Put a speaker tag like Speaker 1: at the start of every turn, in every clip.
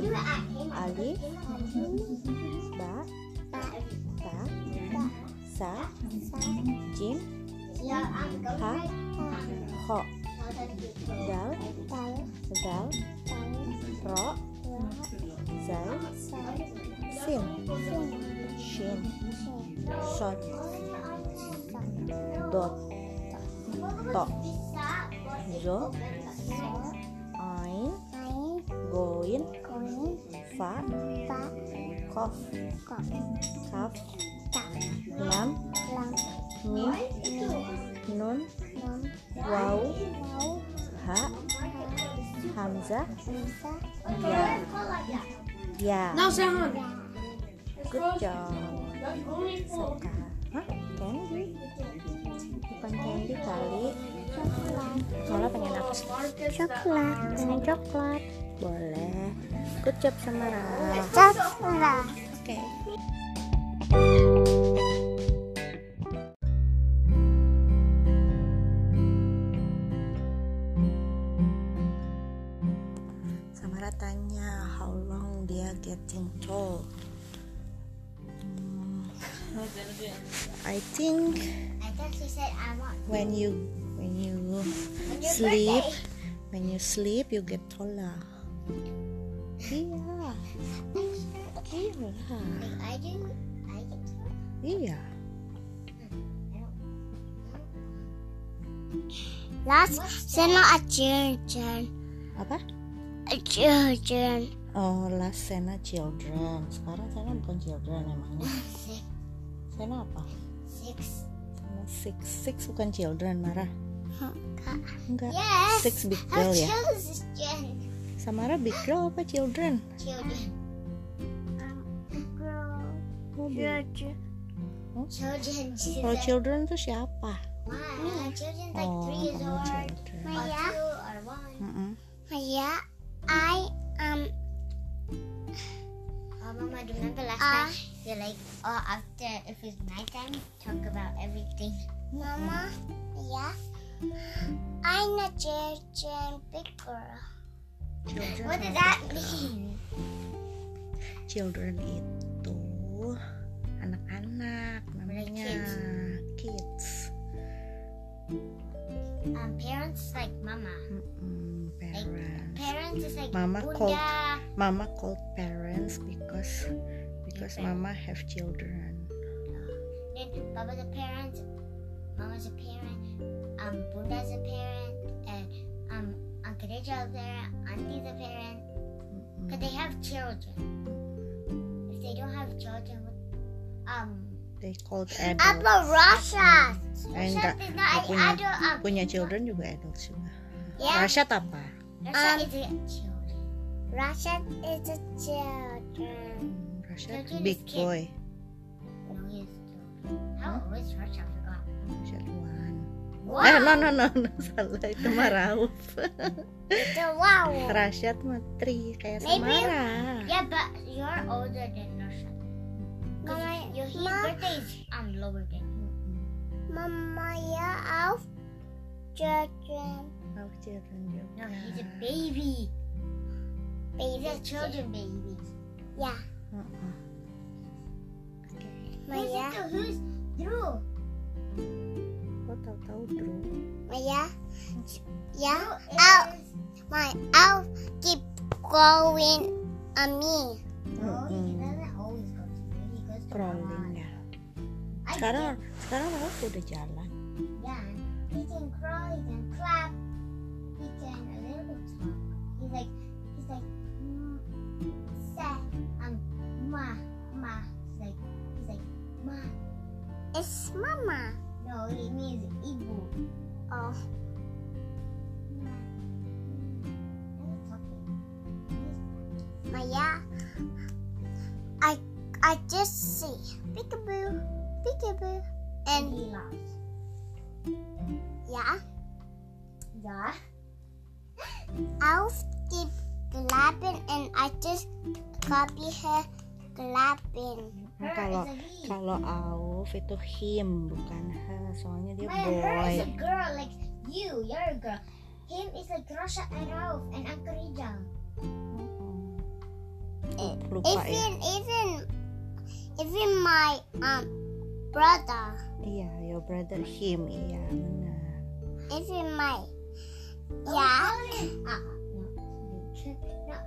Speaker 1: alif ba ta sa jim ha kho dal dal ro zai sin shin shon dot to zo ain goin fa kof kaf lam mim nun wau ha hamzah ya ya
Speaker 2: Now say honey.
Speaker 1: good job
Speaker 2: That's only four.
Speaker 1: Suka. Hah? Candy? Bukan candy kali. Malah pengen aku
Speaker 2: Markets that
Speaker 3: coklat
Speaker 2: are-
Speaker 3: dengan coklat
Speaker 1: boleh. Good job sama Ra.
Speaker 3: coklat oke
Speaker 1: Samara tanya how long dia getting tall. Hmm, I think
Speaker 3: I thought she said I want
Speaker 1: when you when you sleep when you sleep you get taller. Iya, iya,
Speaker 3: I do I get
Speaker 1: iya.
Speaker 3: last send a children
Speaker 1: Apa?
Speaker 3: a children
Speaker 1: Oh, last Sena children. Sekarang Sena bukan children emangnya. Sena apa?
Speaker 3: six
Speaker 1: Sena six. Six bukan children, Marah. Enggak.
Speaker 3: yes
Speaker 1: Six big
Speaker 3: a
Speaker 1: girl ya.
Speaker 3: children
Speaker 1: Samara big girl apa children?
Speaker 3: children
Speaker 1: Oh, big.
Speaker 3: Children.
Speaker 1: Oh.
Speaker 3: Children.
Speaker 1: Kalau children tuh siapa?
Speaker 3: Why? Children like
Speaker 1: Oh,
Speaker 3: three years
Speaker 1: kamu
Speaker 3: old, or
Speaker 1: children.
Speaker 3: two, or one.
Speaker 1: Mm-mm.
Speaker 3: Maya, I um.
Speaker 4: Oh, Mama, do you remember last
Speaker 3: Ah.
Speaker 4: time? You're like, oh, after if it's nighttime, talk about everything.
Speaker 3: Mama, yeah. I'm a children big girl.
Speaker 4: What does that mean?
Speaker 1: Children itu anak-anak namanya kids.
Speaker 4: Um, parents is like Mama.
Speaker 1: Mm-mm, parents.
Speaker 4: Parents is like
Speaker 1: Mama called
Speaker 4: Bunda.
Speaker 1: Mama called parents because because Mama have children.
Speaker 4: Then Baba's a parent. Mama's a parent. Um, Bunda's a parent. And um, Uncle Deja's a parent. Auntie's a parent.
Speaker 1: Mm-mm.
Speaker 4: Cause they have children. If they don't have children, um,
Speaker 1: They called
Speaker 3: Apple
Speaker 1: adults.
Speaker 3: Russia.
Speaker 1: Eh, enggak.
Speaker 4: Russia is not an
Speaker 1: punya-
Speaker 4: adult. Um,
Speaker 1: Punya children juga adults juga.
Speaker 4: Ya.
Speaker 3: Yeah.
Speaker 1: Rashad apa?
Speaker 4: Russia
Speaker 3: Um,
Speaker 4: is a children.
Speaker 3: Russia is a children.
Speaker 1: Hmm, Rashad
Speaker 4: Children is
Speaker 1: big
Speaker 4: kids.
Speaker 1: boy.
Speaker 4: No, he is still. How old is Rush? I forgot.
Speaker 1: Rashad one.
Speaker 4: Wow.
Speaker 1: Eh, no, no, no, no, salah itu mah Rauf.
Speaker 3: It's a wow.
Speaker 1: Rashad mah tri kayak
Speaker 3: Maybe-
Speaker 1: Samara.
Speaker 4: Yeah, but you're older than Rush. Cause your his
Speaker 3: Ma-
Speaker 4: birthday is um lower than.
Speaker 3: Mama, yeah, of children.
Speaker 1: Rauf children juga.
Speaker 4: No, he's a baby. He's a children baby.
Speaker 3: Yeah,
Speaker 1: Mm-mm. Oke,
Speaker 3: Maya,
Speaker 4: Who's Drew?
Speaker 1: kok tahu-tahu Drew?
Speaker 3: Maya, yeah. Out, my out keep growing on me.
Speaker 4: No, he
Speaker 1: Mm-mm.
Speaker 4: doesn't always go to Drew. He goes to
Speaker 1: Crawling
Speaker 4: Ron.
Speaker 1: ya.
Speaker 4: I
Speaker 1: Sekarang, sekarang Rauf udah jalan.
Speaker 4: think, Yeah. He can crawl. He can clap. He can a little bit talk. He's like he's like mm, say um ma ma. He's like he's like ma.
Speaker 3: It's Mama.
Speaker 4: No, it means ibu.
Speaker 3: Oh, Maya, I I just see peekaboo, peekaboo,
Speaker 4: And
Speaker 3: and
Speaker 4: he lost.
Speaker 3: yeah,
Speaker 4: Yeah.
Speaker 3: I'll keep clapping, and I just copy her clapping.
Speaker 1: Nah,
Speaker 4: Her
Speaker 1: kalau
Speaker 4: is a he.
Speaker 1: kalau Auf itu him bukan her, soalnya dia
Speaker 4: My her
Speaker 1: boy.
Speaker 4: is a girl like you. You're a girl. Him is like Rasha and Rauf and Uncle Rijal.
Speaker 1: Mm-mm. lupain
Speaker 3: Even even even my um brother,
Speaker 1: iya your brother him iya benar
Speaker 3: even my
Speaker 4: Oh,
Speaker 3: yeah
Speaker 4: Ollie. Ah, no. Check. No.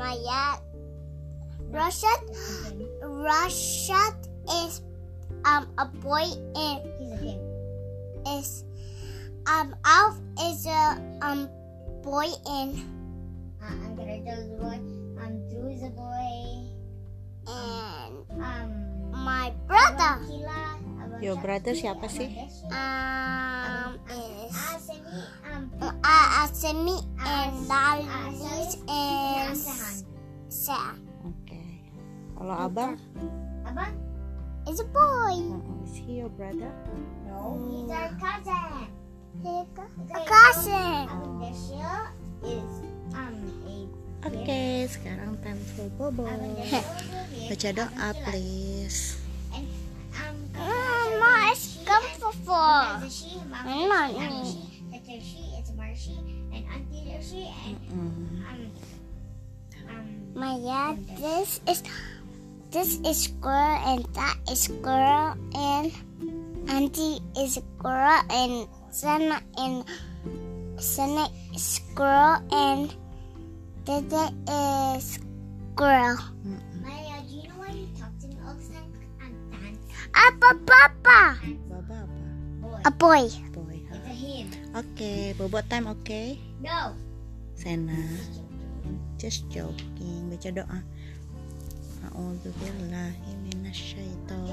Speaker 3: my yeah Rashad Rashad is um a boy and
Speaker 4: He's a him.
Speaker 3: is um Alf is a um boy and
Speaker 4: Uh, I'm gonna do the boy. Um, Drew is a boy.
Speaker 3: and
Speaker 4: Um,
Speaker 3: my brother
Speaker 4: Abang Kila, Abang
Speaker 1: Your
Speaker 4: Syakri,
Speaker 1: brother siapa
Speaker 4: Abang
Speaker 1: sih?
Speaker 4: Deshi,
Speaker 3: um is
Speaker 4: Ah, Semi, um,
Speaker 3: uh, Asemi and
Speaker 4: As-
Speaker 3: Lalis
Speaker 4: dan
Speaker 3: and
Speaker 4: Sehan.
Speaker 3: Sam
Speaker 1: oke kalau abang
Speaker 4: Abang?
Speaker 3: is a boy.
Speaker 1: uh-uh, is he your brother
Speaker 4: No. He's our cousin.
Speaker 3: A cousin.
Speaker 4: Abang Deshi Um, is um a
Speaker 1: oke sekarang time for bobo
Speaker 4: Abang Deshi is a him.
Speaker 1: baca doa
Speaker 4: Abang Kila.
Speaker 1: please
Speaker 4: Um,
Speaker 3: Mama, it's comfortable.
Speaker 4: Deshi,
Speaker 3: I'm
Speaker 4: Mama
Speaker 3: not
Speaker 4: Deshi, Auntie
Speaker 3: me.
Speaker 4: Deshi, Tete Deshi, it's Marshi, and Auntie Deshi, and
Speaker 1: Mm.
Speaker 4: um, um,
Speaker 3: My dad, this is this is squirrel and that is squirrel and auntie is squirrel and Santa and Santa is squirrel and Dada is squirrel.
Speaker 4: Maya, do you know why you talk to me all the time? I'm Dan,
Speaker 3: Apa papa?
Speaker 1: Baba apa
Speaker 4: boy.
Speaker 3: A boy.
Speaker 1: boy oke
Speaker 4: It's a him.
Speaker 1: bobo time oke
Speaker 4: No.
Speaker 1: Sena just joking baca doa A'udzubillahi minasyaitonir